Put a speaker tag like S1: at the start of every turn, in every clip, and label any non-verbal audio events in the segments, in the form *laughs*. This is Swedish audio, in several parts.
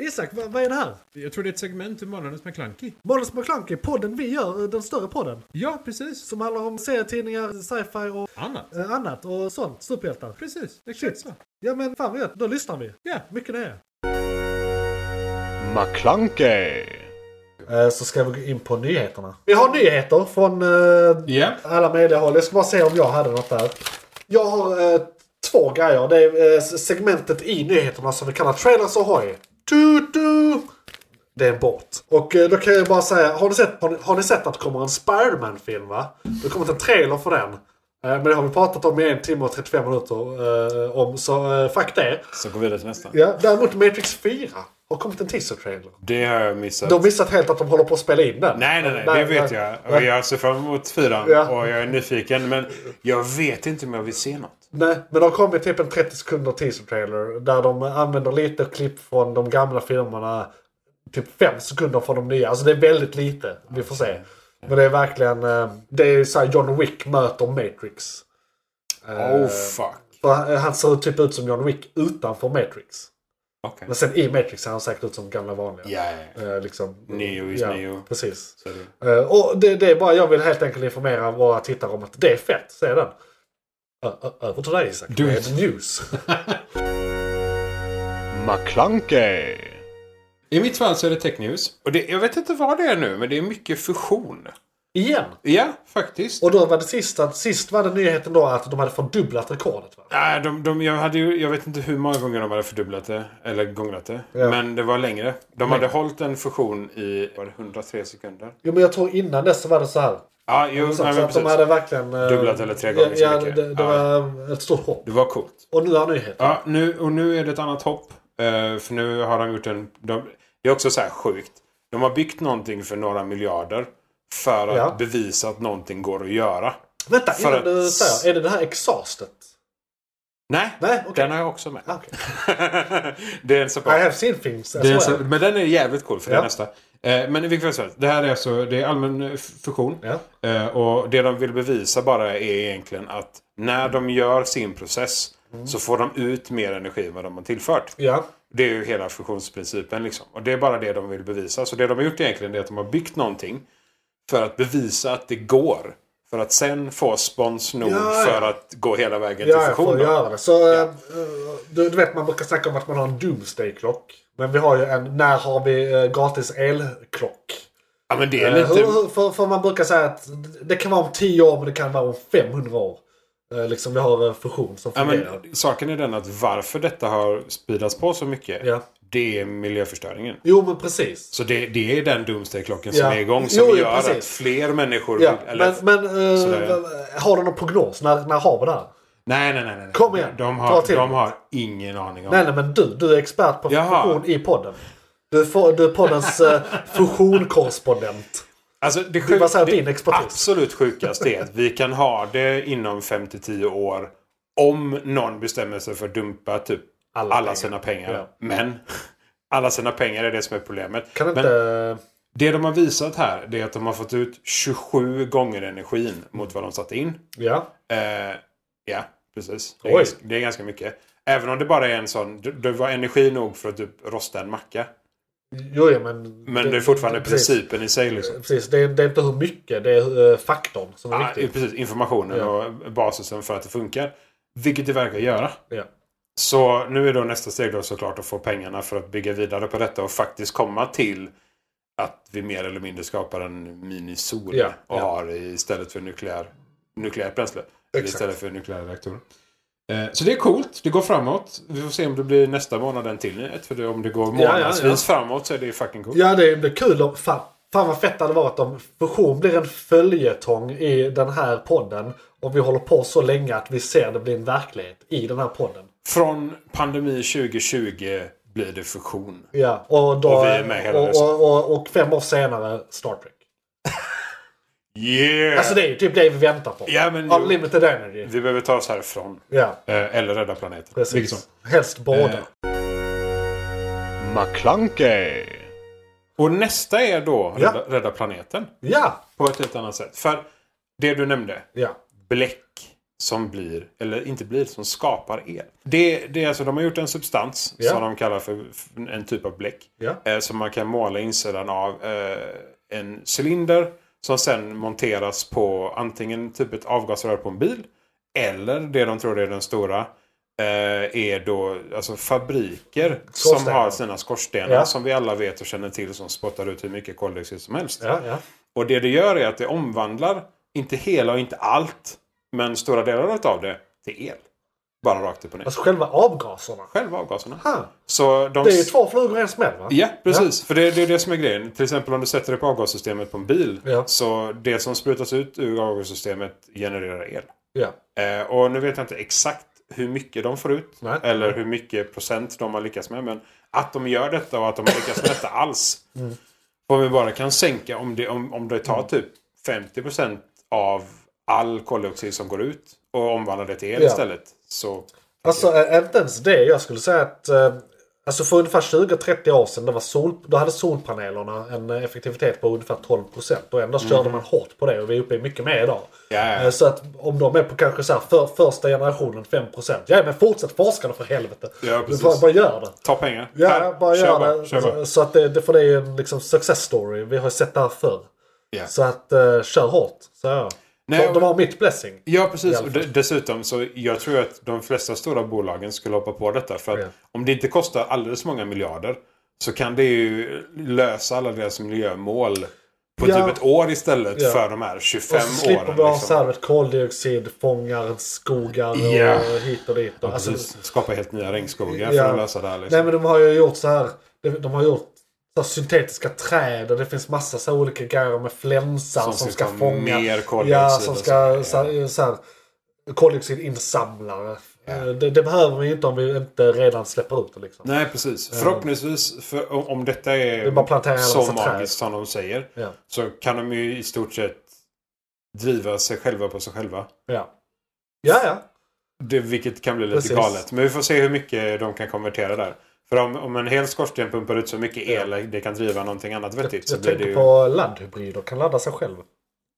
S1: Isak, vad, vad är det här?
S2: Jag tror det är ett segment ur Månadens McKlunky.
S1: Månadens McKlunky, podden vi gör, eh, den större podden.
S2: Ja, precis.
S1: Som handlar om serietidningar, sci-fi och
S2: Annat.
S1: eh, annat och sånt. Superhjältar.
S2: Precis, exakt
S1: Shit.
S2: så.
S1: Ja men fan vad gött, då lyssnar vi.
S2: Ja,
S1: Mycket det
S3: McClunkey.
S1: är. Eh, Så ska vi gå in på nyheterna. Vi har nyheter från eh,
S2: Ja.
S1: alla möjliga håll. Jag ska bara se om jag hade något där. Jag har eh, två grejer. Det är eh, segmentet i nyheterna som vi kallar Trailers Ahoy. Du-du! Det är en båt. Och eh, då kan jag bara säga, har ni sett, har ni, har ni sett att det kommer en Spiderman-film va? Det har kommit en trailer för den. Eh, Men det har vi pratat om i en timme och 35 minuter. Eh, om, så eh, fuck det.
S3: Så går vi vidare till nästa.
S1: Ja, däremot Matrix 4 har kommit en teaser-trailer.
S3: Det har jag missat.
S1: De har missat helt att de håller på att spela in den.
S3: Nej, nej, nej, det vet jag. Och jag ser fram emot fyran
S1: Ja.
S3: och jag är nyfiken. Men jag vet inte om jag vill se något.
S1: Nej, men de kom med typ en 30 sekunder teaser-trailer. Där de använder lite klipp från de gamla filmerna. Typ 5 sekunder från de nya. Alltså det är väldigt lite. Vi får se. Men det är verkligen... eh, Det är såhär John Wick möter Matrix.
S3: Oh fuck.
S1: För han- han ser typ ut som John Wick utanför Matrix.
S3: Okej.
S1: Men sen i Matrix ser han säkert ut som gamla vanliga.
S3: Ja, ja, ja.
S1: Eh, Liksom,
S3: Neo is Neo.
S1: Precis.
S3: Så är det.
S1: Eh, och det, det är bara, jag vill helt enkelt informera våra tittare om att det är fett, säger den. Ö- ö- Över till dig Isak.
S2: Do
S1: Med
S2: it.
S1: news. *laughs*
S3: McClunkey.
S2: I mitt fall så är det tech news.
S3: Och det, jag vet inte vad det är nu, men det är mycket fusion.
S1: Igen.
S3: Ja, faktiskt.
S1: Och då var det sista, sist var det nyheten då att de hade fördubblat rekordet va?
S3: Nej, de, de, jag, hade ju, jag vet inte hur många gånger de hade fördubblat det. Eller gångrat det.
S1: Ja.
S3: Men det var längre. De hade hållit en fusion i var det 103 sekunder.
S1: Jo men jag tror innan dess så var det så här.
S3: Ja, jo,
S1: Så,
S3: nej,
S1: så
S3: men
S1: att de
S3: precis.
S1: hade verkligen... eh,
S3: Dubblat eller tre gånger så
S1: ja,
S3: mycket.
S1: Det, det
S3: Ja.
S1: var eh, ett stort hopp.
S3: Det var coolt.
S1: Och nu är nyheten.
S3: Ja, nu, och nu är det ett annat hopp. Eh, för nu har de gjort en... De, det är också så här sjukt. De har byggt någonting för några miljarder. För att
S1: Ja.
S3: bevisa att någonting går att göra.
S1: Vänta,
S3: För
S1: innan
S3: att-
S1: du säger. Är det det här exhaustet?
S3: Nej,
S1: Nej, okej.
S3: den har jag också med. *laughs*
S1: Ah, okej.
S3: det är en separat.
S1: I have seen things as
S3: Det är
S1: well.
S3: så, men den är jävligt cool för det
S1: Ja.
S3: är nästa. Eh, men i vilket fall som helst, det här är alltså det är allmän eh, fusion.
S1: Ja.
S3: Eh, och det de vill bevisa bara är egentligen att när de gör sin process
S1: Mm.
S3: så får de ut mer energi än vad de har tillfört.
S1: Ja.
S3: Det är ju hela fusionsprincipen liksom. Och det är bara det de vill bevisa. Så det de har gjort egentligen är att de har byggt någonting för att bevisa att det går. För att sen få spons nog
S1: Ja, ja.
S3: för att gå hela vägen till
S1: Ja, jag
S3: fusion.
S1: får
S3: då.
S1: göra det. Så, eh, du, du vet, man brukar snacka om att man har en doomsday-klock. Men vi har ju en när har vi eh, gratis elklock.
S3: Ja, men det är
S1: Eh,
S3: lite...
S1: hur, hur, för, för man brukar säga att det kan vara om 10 år men det kan vara om 500 år. Eh, liksom vi har en fusion som
S3: Ja,
S1: fungerar.
S3: men, saken är den att varför detta har speedats på så mycket,
S1: Ja.
S3: det är miljöförstöringen.
S1: Jo men precis.
S3: Så det, det är den doomsday-klockan
S1: Ja.
S3: som är igång som
S1: Jo, jo,
S3: gör
S1: precis.
S3: att fler människor...
S1: Ja,
S3: eller,
S1: men men eh,
S3: sådär, ja.
S1: v- har du någon prognos? När, när har vi det här?
S3: nej, nej, nej, nej.
S1: Kom igen,
S3: De
S1: ta
S3: har,
S1: till.
S3: de har ingen aning om
S1: Nej, nej men du, du är expert på
S3: Jaha.
S1: fusion i podden. Du är, fo- du är poddens
S3: *laughs*
S1: eh, fusionkorrespondent.
S3: Alltså det,
S1: var så här din
S3: det
S1: expertis.
S3: absolut sjukaste är att vi kan ha det inom 5-10 år. Om någon bestämmer sig för att dumpa typ
S1: Alla
S3: alla,
S1: pengar.
S3: sina pengar.
S1: Ja.
S3: Men *laughs* alla sina pengar är det som är problemet.
S1: Kan
S3: Men
S1: inte... eh,
S3: det de har visat här det är att de har fått ut 27 gånger energin mot vad de satt in.
S1: Ja.
S3: Eh, ja, precis. Det är,
S1: Oj.
S3: ganska, det är ganska mycket. Även om det bara är en sån... Det det var energi nog för att typ rosta en macka.
S1: Jo, ja, men...
S3: Men det, är fortfarande
S1: precis.
S3: principen i sig liksom.
S1: Precis, det är, det är inte hur mycket, det är eh, faktorn som är
S3: Ja,
S1: viktig.
S3: precis, informationen
S1: Ja.
S3: och basisen för att det funkar. Vilket det verkar göra.
S1: Ja.
S3: Så nu är då nästa steg då såklart att få pengarna för att bygga vidare på detta och faktiskt komma till att vi mer eller mindre skapar en minisol
S1: Ja,
S3: och
S1: ja.
S3: har istället för nukleär, nukleärt bränsle. Eller
S1: Exakt.
S3: istället för nukleära reaktorer. Eh, Så det är coolt, det går framåt. Vi får se om det blir nästa månad en till nyhet. För det- om det går
S1: ja, ja.
S3: månadsvis framåt så är det ju fucking coolt.
S1: Ja, det blir kul om... Fan, fan vad fett det hade varit om fusion blir en följetong i den här podden. Och vi håller på så länge att vi ser det bli en verklighet i den här podden.
S3: Från pandemi 2020 blir det fusion.
S1: Ja, och då...
S3: Och vi är med hela
S1: och,
S3: resten.
S1: och, och, och fem år senare, Star Trek.
S3: Yeah!
S1: Alltså det är ju typ det vi väntar på.
S3: Ja, men jo.
S1: Unlimited energy.
S3: Vi behöver ta oss härifrån.
S1: Ja,
S3: Eh, Eller rädda planeten. Vilket som.
S1: precis. Helst båda.
S3: Eh, Och nästa är då
S1: Ja.
S3: rädda, rädda planeten.
S1: Ja,
S3: På ett helt annat sätt. För det du nämnde.
S1: ja.
S3: Bläck som blir, eller inte blir, som skapar el. Det, det är alltså, de har gjort en substans
S1: Ja.
S3: som de kallar för för en typ av bläck.
S1: Ja.
S3: Eh, som man kan måla insidan av eh, en cylinder som sen monteras på antingen typ ett avgasrör på en bil eller det de tror är den stora eh, är då alltså fabriker som
S1: Skorstenar.
S3: har sina skorstenar
S1: Ja.
S3: som vi alla vet och känner till som spottar ut hur mycket koldioxid som helst.
S1: Ja, ja.
S3: Och det det gör är att det omvandlar, inte hela och inte allt, men stora delar av det till el. Bara rakt upp och ner.
S1: Alltså själva avgaserna.
S3: Själva avgaserna.
S1: Ha.
S3: Så de...
S1: Det är ju två flugor i en smäll va?
S3: Ja, precis. För det, det är det som är grejen. Till exempel om du sätter upp avgassystemet på en bil.
S1: Ja.
S3: Så det som sprutas ut ur avgassystemet genererar el.
S1: Ja.
S3: Eh, och nu vet jag inte exakt hur mycket de får ut.
S1: Nej.
S3: Eller hur mycket procent de har lyckats med. Men att de gör detta och att de har lyckats med detta alls.
S1: Mm.
S3: Om vi bara kan sänka, om det, om, om det tar typ 50% av all koldioxid som går ut och omvandlar det till el
S1: Ja.
S3: istället. Så
S1: Alltså eh, inte ens det. Jag skulle säga att eh, alltså för ungefär 20-30 år sedan det var sol, då hade solpanelerna en eh, effektivitet på ungefär 12 procent. Och ändå körde man hårt på det och vi är uppe i mycket mer idag.
S3: Mm. Ja.
S1: Eh, Så att om de är på kanske så här för, första generationen 5 procent. Ja men fortsätt forska då för helvete.
S3: Ja,
S1: Du
S3: precis.
S1: Bara, bara gör det.
S3: ta pengar.
S1: Ja,
S3: Här,
S1: bara
S3: kör
S1: gör
S3: bara,
S1: det.
S3: kör bara.
S1: Så, så att det, det, för det är ju en liksom, success story. Vi har ju sett det här förr.
S3: Ja.
S1: Så att eh, kör hårt. Så, ja.
S3: Nej,
S1: de, de har mitt blessing.
S3: Ja,
S1: I
S3: precis.
S1: alla
S3: Och
S1: fall.
S3: de- dessutom så jag tror att de flesta stora bolagen skulle hoppa på detta. För att
S1: Ja.
S3: om det inte kostar alldeles många miljarder så kan det ju lösa alla deras miljömål på
S1: Ja.
S3: typ ett år istället
S1: Ja.
S3: för de här 25
S1: Och så slipper
S3: åren.
S1: vi ha
S3: liksom.
S1: så här ett koldioxidfångare, skogar
S3: Ja.
S1: och hit och dit. Och, alltså,
S3: Precis. Skapa helt nya regnskogar
S1: Ja.
S3: för att lösa det här. Liksom.
S1: nej men de har ju gjort så här. De, de har gjort så här syntetiska träd och det finns massa så här olika grejer med flänsar som,
S3: Som ska
S1: ska
S3: ta
S1: fånga.
S3: mer koldioxid
S1: ja, som
S3: och
S1: ska
S3: sådär,
S1: så här, så här, koldioxidinsamlare. Eh, Det, det behöver vi ju inte om vi inte redan släpper ut det liksom.
S3: Nej, precis. Förhoppningsvis, för om- om detta är,
S1: är bara att plantera en
S3: så
S1: massa träd.
S3: magiskt som de säger,
S1: Ja.
S3: så kan de ju i stort sett driva sig själva på sig själva.
S1: Ja. Ja, ja.
S3: Det, vilket kan bli lite
S1: Precis.
S3: galet. Men vi får se hur mycket de kan konvertera där. För om, om en hel skorsten pumpar ut så mycket el det kan driva någonting annat vettigt så
S1: Jag
S3: blir det
S1: tänker
S3: ju
S1: på laddhybrider. Kan ladda sig själv.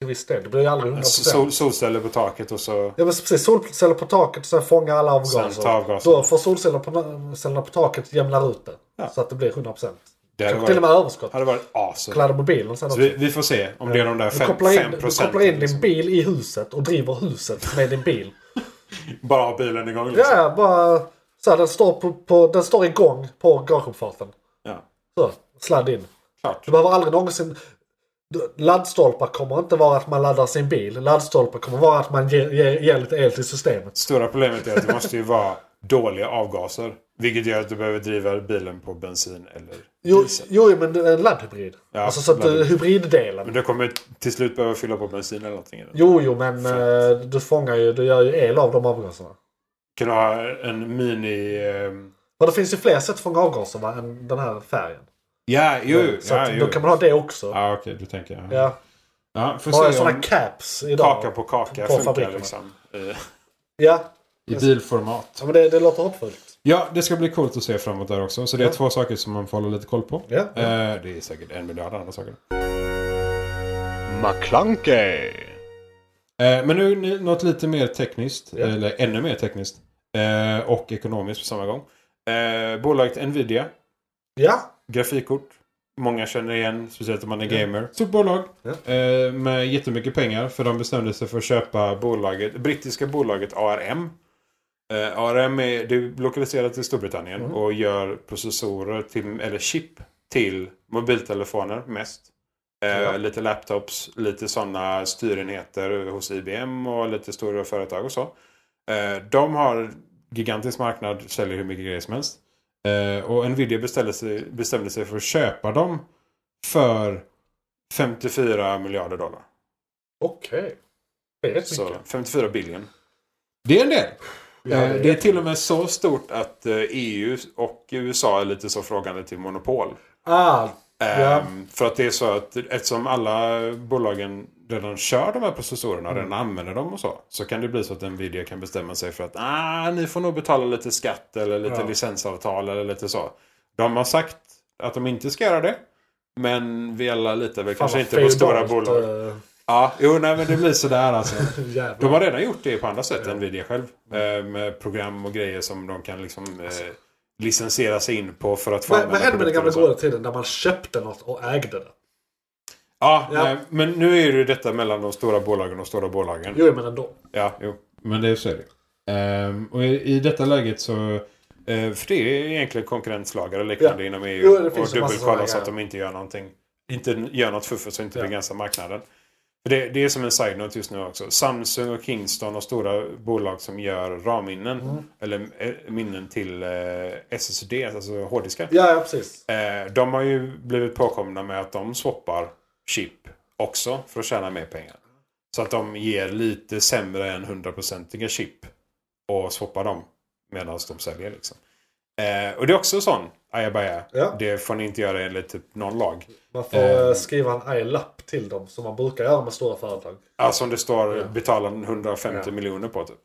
S1: Till viss del. Det blir ju aldrig 100%.
S3: sol, solceller på taket och så...
S1: Ja men precis, solceller på taket och sen fångar alla
S3: Sen tar
S1: avgaser.
S3: avgaserna.
S1: Då får solcellerna på, cellerna på taket jämnar ut det. Så att det blir 100%.
S3: Det hade
S1: Kanske till och
S3: varit,
S1: med överskott.
S3: hade varit awesome.
S1: Kladda mobilen sen
S3: Så
S1: också.
S3: vi, vi får se om det är de där
S1: du,
S3: fem-
S1: kopplar in,
S3: 5
S1: du
S3: procenten.
S1: kopplar in din
S3: liksom.
S1: bil i huset och driver huset med din bil.
S3: Bara ha bilen igång liksom.
S1: Ja, ja, bara så här, den, står på, på, den står igång på garageuppfarten.
S3: Ja,
S1: Så, sladd in.
S3: klart.
S1: Du behöver aldrig någonsin... du- Laddstolpar kommer inte vara att man laddar sin bil. Laddstolpar kommer vara att man ger, ger, ger lite el till systemet.
S3: Stora problemet är att det måste ju vara dåliga avgaser. Vilket gör att du behöver driva bilen på bensin eller
S1: Jo,
S3: diesel.
S1: jo men det är en laddhybrid.
S3: Ja,
S1: alltså så att
S3: laddhybrid.
S1: eh, hybriddelen.
S3: Men du kommer till slut behöva fylla på bensin eller någonting. Eller?
S1: Jo, jo, men eh, du fångar ju, du gör ju el av de avgaserna.
S3: Kan du ha en mini... ehm,
S1: Men det finns ju fler sätt att fånga avgaser va, än den här färgen.
S3: Ja, jo.
S1: Så
S3: Ja,
S1: att,
S3: jo.
S1: då kan man ha det också. Ja.
S3: Ja, okej, du tänker. Ja. Ja.
S1: Ja.
S3: får
S1: Bara
S3: se om
S1: sådana caps idag.
S3: kaka på kaka
S1: på
S3: funkar
S1: fabrikerna.
S3: liksom. Eh,
S1: Ja,
S2: I bilformat.
S1: ja men det, det låter hoppfullt.
S2: Ja, det ska bli coolt att se framåt där också. Så det är två saker som man får hålla lite koll på.
S1: Ja.
S2: Eh, det är säkert en miljard andra saker.
S3: McClunkey.
S2: Eh, men nu nu något lite mer tekniskt.
S1: Ja.
S2: Eller ännu mer tekniskt. Eh, och ekonomiskt på samma gång.
S3: Eh, bolaget Nvidia.
S1: Ja,
S3: Grafikkort. Många känner igen, speciellt om man är gamer.
S2: Stort bolag.
S1: Ja.
S2: Eh, med jättemycket pengar.
S3: För de bestämde sig för att köpa bolaget, det brittiska bolaget ARM. Eh, ARM är, det är lokaliserat i Storbritannien
S1: Mm.
S3: och gör processorer, till, eller chip, till mobiltelefoner mest. Eh,
S1: Ja.
S3: Lite laptops, lite sådana styrenheter hos IBM och lite stora företag och så. Eh, de har gigantisk marknad, säljer hur mycket grejer som helst. Eh, och Nvidia beställde sig, bestämde sig för att köpa dem för 54 miljarder dollar.
S1: okej. Det är rätt
S3: Så
S1: mycket.
S3: 54 billion.
S2: Det är en del.
S1: Ja,
S2: Eh,
S3: Eh, Det är till och med så stort att eh, EU och USA är lite så frågande till monopol.
S1: Ah,
S3: Ehm,
S1: Ja.
S3: För att det är så att eftersom alla bolagen redan kör de här processorerna
S1: Mm.
S3: och redan använder dem och så. Så kan det bli så att Nvidia kan bestämma sig för att ah, ni får nog betala lite skatt eller lite
S1: Ja.
S3: licensavtal eller lite så. De har sagt att de inte ska göra det. Men vi alla litar väl
S1: fan
S3: kanske
S1: vad
S3: inte på stora
S1: feodalt,
S3: bolag.
S1: eh, *laughs*
S3: Ja, jo, nej, men det blir sådär alltså.
S1: Jävlar.
S3: De har redan gjort det på andra sätt, Nvidia själv.
S1: Mm.
S3: Eh, Med program och grejer som de kan liksom eh, licensiera sig in på för att
S1: Alltså.
S3: få
S1: Vad
S3: använda
S1: vad hände med den
S3: produkter
S1: gamla
S3: och så.
S1: goda tiden där man köpte något och ägde det?
S3: Ja,
S1: Ja.
S3: nej, men nu är det ju detta mellan de stora bolagen och de stora bolagen.
S1: Jo, men ändå.
S3: Ja, jo.
S2: Men det är så är det. Ehm, och i, i detta läget så...
S3: Eh, För det är egentligen konkurrenslagar och liknande
S1: Ja.
S3: inom EU.
S1: Jo, det
S3: och
S1: finns en massa sådana
S3: dubbelkolla så att
S1: grejer.
S3: de inte gör någonting. Inte gör något fuffens och inte
S1: Ja.
S3: begränsar marknaden. För det, det är som en side-note just nu också. Samsung och Kingston och stora bolag som gör RAM-minnen.
S1: Mm.
S3: Eller eh, minnen till eh, SSD, alltså hårddiskar.
S1: Ja, ja precis.
S3: Eh, de har ju blivit påkomna med att de swappar chip också för att tjäna mer pengar. Så att de ger lite sämre än 100% chip och swappar dem medan de säljer. Liksom. Eh, och det är också sån ajabaja.
S1: Ja.
S3: Det får ni inte göra enligt typ någon lag.
S1: Man får
S3: Eh.
S1: eh, skriva en arg lapp till dem som man brukar göra med stora företag.
S3: Ja, som Alltså det står betala 150
S1: Ja.
S3: miljoner på typ.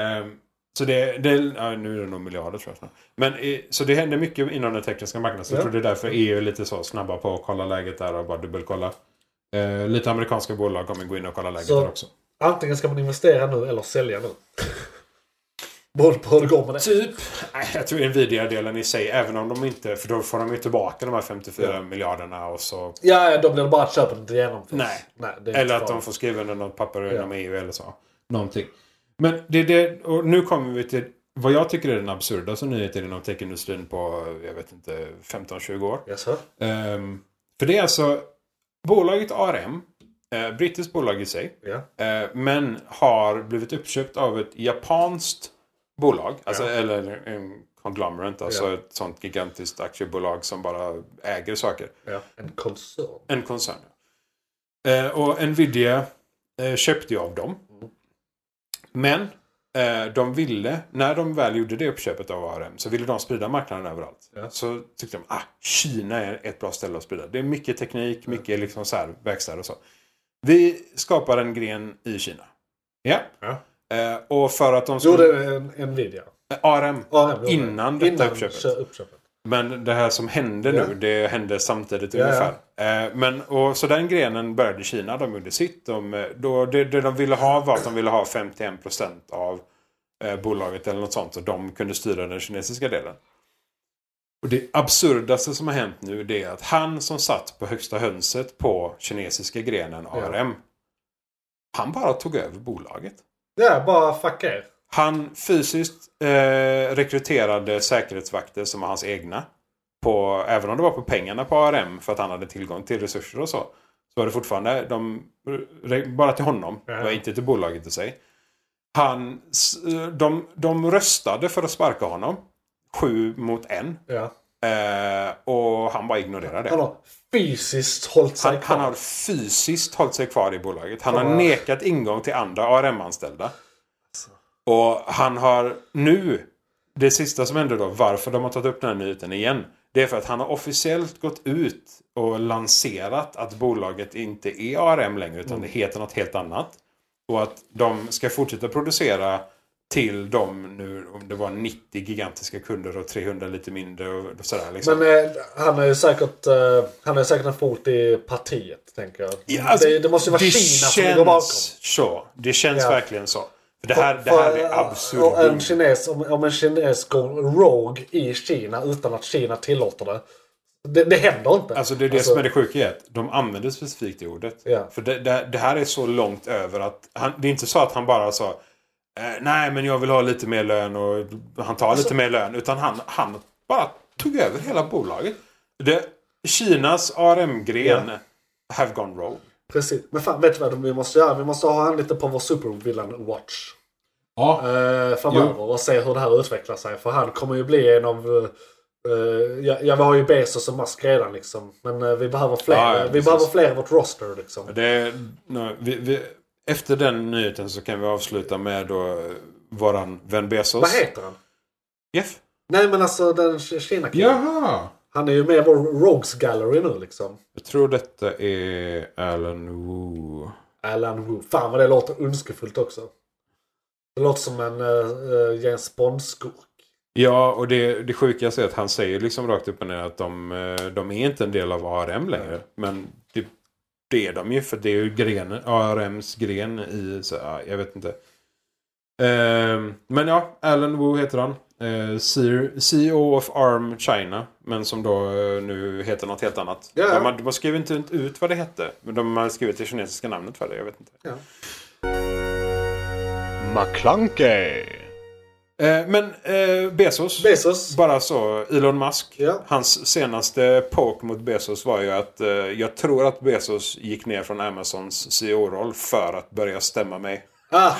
S3: Ehm, så det, det ja, nu är det nog miljarder tror jag. snart. Men, eh, så det händer mycket inom den tekniska marknaden. Så
S1: Ja.
S3: jag tror det är därför EU är lite så snabba på att kolla läget där och bara dubbelkolla. Eh, lite amerikanska bolag kommer gå in och kolla läget
S1: Så-
S3: där också.
S1: Antingen ska man investera nu eller sälja nu. *laughs* Beroende på hur det går med det.
S3: Typ. Nej, Jag tror Nvidia-delen i sig, även om de inte, för då får de ju tillbaka de här 54 miljarderna och så.
S1: Ja, ja, då blir det bara att köpet inte genomförs.
S3: Nej.
S1: Nej det är inte
S3: Eller att
S1: bra.
S3: de får skriva under något papper inom EU eller så. Någonting. Men det, det, och nu kommer vi till vad jag tycker är den absurdaste nyheten inom techindustrin på, jag vet inte, 15-20 år.
S1: Jaså?
S3: Ehm, för det är alltså bolaget ARM, eh, brittiskt bolag i sig,
S1: Ja.
S3: eh, men har blivit uppköpt av ett japanskt bolag, alltså,
S1: Ja.
S3: eller en conglomerate, alltså
S1: Ja.
S3: ett sånt gigantiskt aktiebolag som bara äger saker.
S1: ja. En koncern.
S3: En koncern. ja. Eh, och Nvidia eh, köpte ju av dem. Men eh, de ville, när de väl gjorde det uppköpet av ARM, så ville de sprida marknaden överallt.
S1: Ja.
S3: Så tyckte de ah, Kina är ett bra ställe att sprida. Det är mycket teknik, mycket liksom så här, verkstäder och så. Vi skapar en gren i Kina. Ja.
S1: Ja.
S3: Eh, och för att de
S1: Gjorde
S3: skulle...
S1: en Nvidia.
S3: ARM.
S1: Ja, den gjorde
S3: Innan
S1: det.
S3: detta
S1: Innan
S3: uppköpet.
S1: kö- uppköpet.
S3: Men det här som hände
S1: Ja.
S3: nu, det hände samtidigt
S1: ja.
S3: ungefär. Eh, Men, och, så den grenen började i Kina, de gjorde sitt. De, eh, då, det, det de ville ha var att de ville ha 51% av eh, bolaget eller något sånt. Och de kunde styra den kinesiska delen. Och det absurdaste som har hänt nu det är att han som satt på högsta hönset på kinesiska grenen
S1: Ja.
S3: ARM. Han bara tog över bolaget.
S1: Ja, bara fuck er.
S3: Han fysiskt eh, rekryterade säkerhetsvakter som var hans egna. På, även om det var på pengarna på ARM för att han hade tillgång till resurser och så. Så var det fortfarande de, re- bara till honom. Det var
S1: Ja.
S3: inte till bolaget i sig. Han, s- de, de röstade för att sparka honom. Sju mot en.
S1: Ja.
S3: Eh, och han bara ignorerade det.
S1: Han har fysiskt hållit sig
S3: Han,
S1: kvar.
S3: han har fysiskt hållit sig kvar i bolaget. Han
S1: Ja.
S3: har nekat ingång till andra ARM-anställda. Och han har nu, det sista som hände då, varför de har tagit upp den här nyheten igen. Det är för att han har officiellt gått ut och lanserat att bolaget inte är ARM längre utan det heter något helt annat. Och att de ska fortsätta producera till de nu, om det var 90 gigantiska kunder och 300 lite mindre och sådär. Liksom.
S1: Men eh, han är ju säkert, eh, han är säkert en fot i partiet, tänker jag.
S3: Ja, alltså,
S1: det, det måste ju vara
S3: det
S1: Kina som ligger bakom.
S3: känns så. Det känns
S1: Ja.
S3: verkligen så. För det här, det här
S1: För,
S3: är
S1: eh,
S3: absurt.
S1: och En kines, om, om en kines går rogue i Kina utan att Kina tillåter det. Det, det händer inte.
S3: Alltså det är det som är det sjuka i att de använder specifikt det ordet.
S1: Ja.
S3: För det, det, det här är så långt över att han, det är inte så att han bara sa eh, nej men jag vill ha lite mer lön och han tar
S1: Alltså-
S3: lite mer lön. Utan han, han bara tog över hela bolaget. Det, Kinas ARM-gren have gone wrong.
S1: Precis. Men fan, vet du vad vi måste göra? Vi måste ha han lite på vår supervillain watch.
S2: Ja,
S1: eh, framöver och se hur det här utvecklar sig. För han kommer ju bli en av... eh, ja, ja, vi har ju Bezos och Musk redan liksom. Men eh, vi behöver fler.
S3: Ja, ja,
S1: vi
S3: precis.
S1: behöver fler i vårt roster liksom.
S3: Det, no, vi, vi, efter den nyheten så kan vi avsluta med då eh, våran vän Bezos.
S1: Vad heter han?
S3: Jeff.
S1: Nej men alltså den kina
S2: jaha!
S1: Han är ju med i vår Rogues Gallery nu liksom.
S3: Jag tror detta är Alan Wu.
S1: Alan Wu. Fan vad det låter ondskefullt också. Det låter som en eh, eh, James Bond-skurk.
S3: Ja, och det, det sjukaste är att han säger liksom rakt upp och ner att de, eh, de är inte en del av ARM längre. Men det det är de ju för det är ju grenen, ARMs gren i, så, ja, jag vet inte. Ehm, men ja, Alan Wu heter han. Eh, CEO CEO of ARM China. Men som då eh, nu heter något helt annat.
S1: Ja, ja.
S3: De, har- de skrev inte ut vad det hette. Men de har skrivit det kinesiska namnet för det, jag vet inte.
S1: Ja.
S4: McClunkey.
S3: Eh, men eh, Bezos.
S1: Bezos.
S3: Bara så, Elon Musk.
S1: Ja.
S3: Hans senaste poke mot Bezos var ju att eh, jag tror att Bezos gick ner från Amazons CEO-roll för att börja stämma mig. *laughs*
S1: Ah,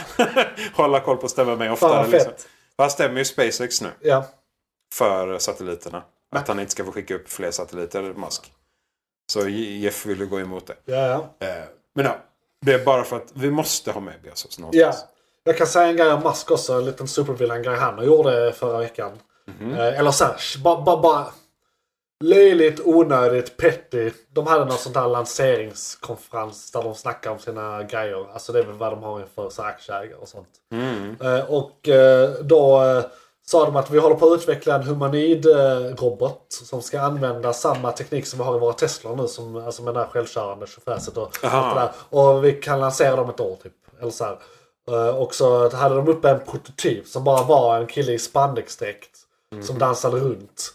S3: Hålla koll på att stämma mig
S1: fan
S3: oftare.
S1: vad
S3: liksom.
S1: fett.
S3: För Han stämmer ju SpaceX nu
S1: Ja.
S3: för satelliterna. Att han inte ska få skicka upp fler satelliter, Musk. Så Jeff ville gå emot det.
S1: Ja, ja.
S3: Eh, men ja, det är bara för att vi måste ha med Bezos
S1: ja.
S3: någonstans.
S1: Jag kan säga en grej om Musk också. En liten supervillan-grej han gjorde förra veckan. Eh, Eller såhär, bara ba, ba, löjligt, onödigt, petty. De hade någon sån där lanseringskonferens där de snackade om sina grejer. Alltså det är väl vad de har inför så här aktieägare och sånt. Eh, Och eh, då eh, sa de att vi håller på att utveckla en humanoid-robot som ska använda samma teknik som vi har i våra Teslor nu, som, alltså med det här självkörande tjofräset och allt det där. Och vi kan lansera dem ett år typ. Eller så här. Eh, Och så hade de uppe en prototyp som bara var en kille i spandexdräkt Mm. som dansade runt.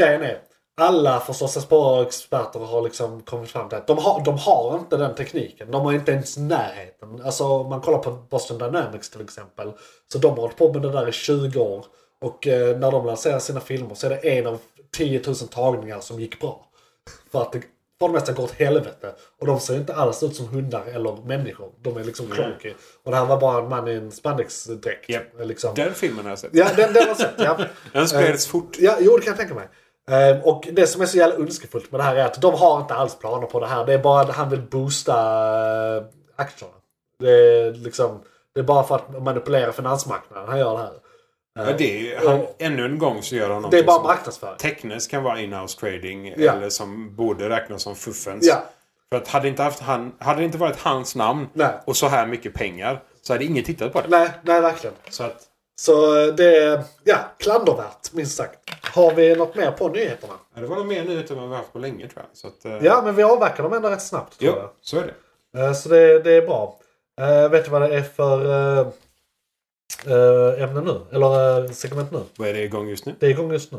S1: Grejen är, alla förståsigpåare och experter har liksom kommit fram till att de har, de har inte den tekniken. De har inte ens närheten. Alltså om man kollar på Boston Dynamics till exempel. Så de har hållit på med det där i 20 år. Och eh, när de lanserar sina filmer så är det en av 10 000 tagningar som gick bra. För att det för det mesta går åt helvete. Och de ser inte alls ut som hundar eller människor. De är liksom klonky. Och det här var bara en man i en spandexdräkt.
S3: Japp.
S1: Liksom.
S3: Den filmen har jag sett.
S1: Ja, den, den har jag sett. Ja.
S3: *laughs*
S1: Eh,
S3: Den spreds fort.
S1: Ja, jo, det kan jag tänka mig. Ehm, Och det som är så jävla ondskefullt med det här är att de har inte alls planer på det här. Det är bara att han vill boosta eh, aktierna. Det är, liksom, det är bara för att manipulera finansmarknaden han gör det här.
S3: Ja, det är ju, han, ännu en gång så gör han
S1: Det är
S3: någonting
S1: bara
S3: som-
S1: marknadsföring.
S3: Tekniskt kan vara in-house trading
S1: Ja.
S3: eller som borde räknas som fuffens.
S1: Ja.
S3: För att hade det inte, haft han, hade det inte varit hans namn
S1: Nej.
S3: och så här mycket pengar så hade ingen tittat på det.
S1: Nej, nej, verkligen.
S3: Så att,
S1: Så eh, det är ja, klandervärt, minst sagt. Har vi något mer på nyheterna?
S3: ja, det var nog mer nyheter än vad vi haft på länge tror jag. Så att, eh,
S1: Ja, men vi avverkar dem ändå rätt snabbt. Tror jag.
S3: jo, så är det.
S1: Eh, Så det, det är bra. Eh, vet du vad det är för eh, eh, ämne nu? Eller eh, segment nu?
S3: Vad är det igång just nu?
S1: Det är igång just nu.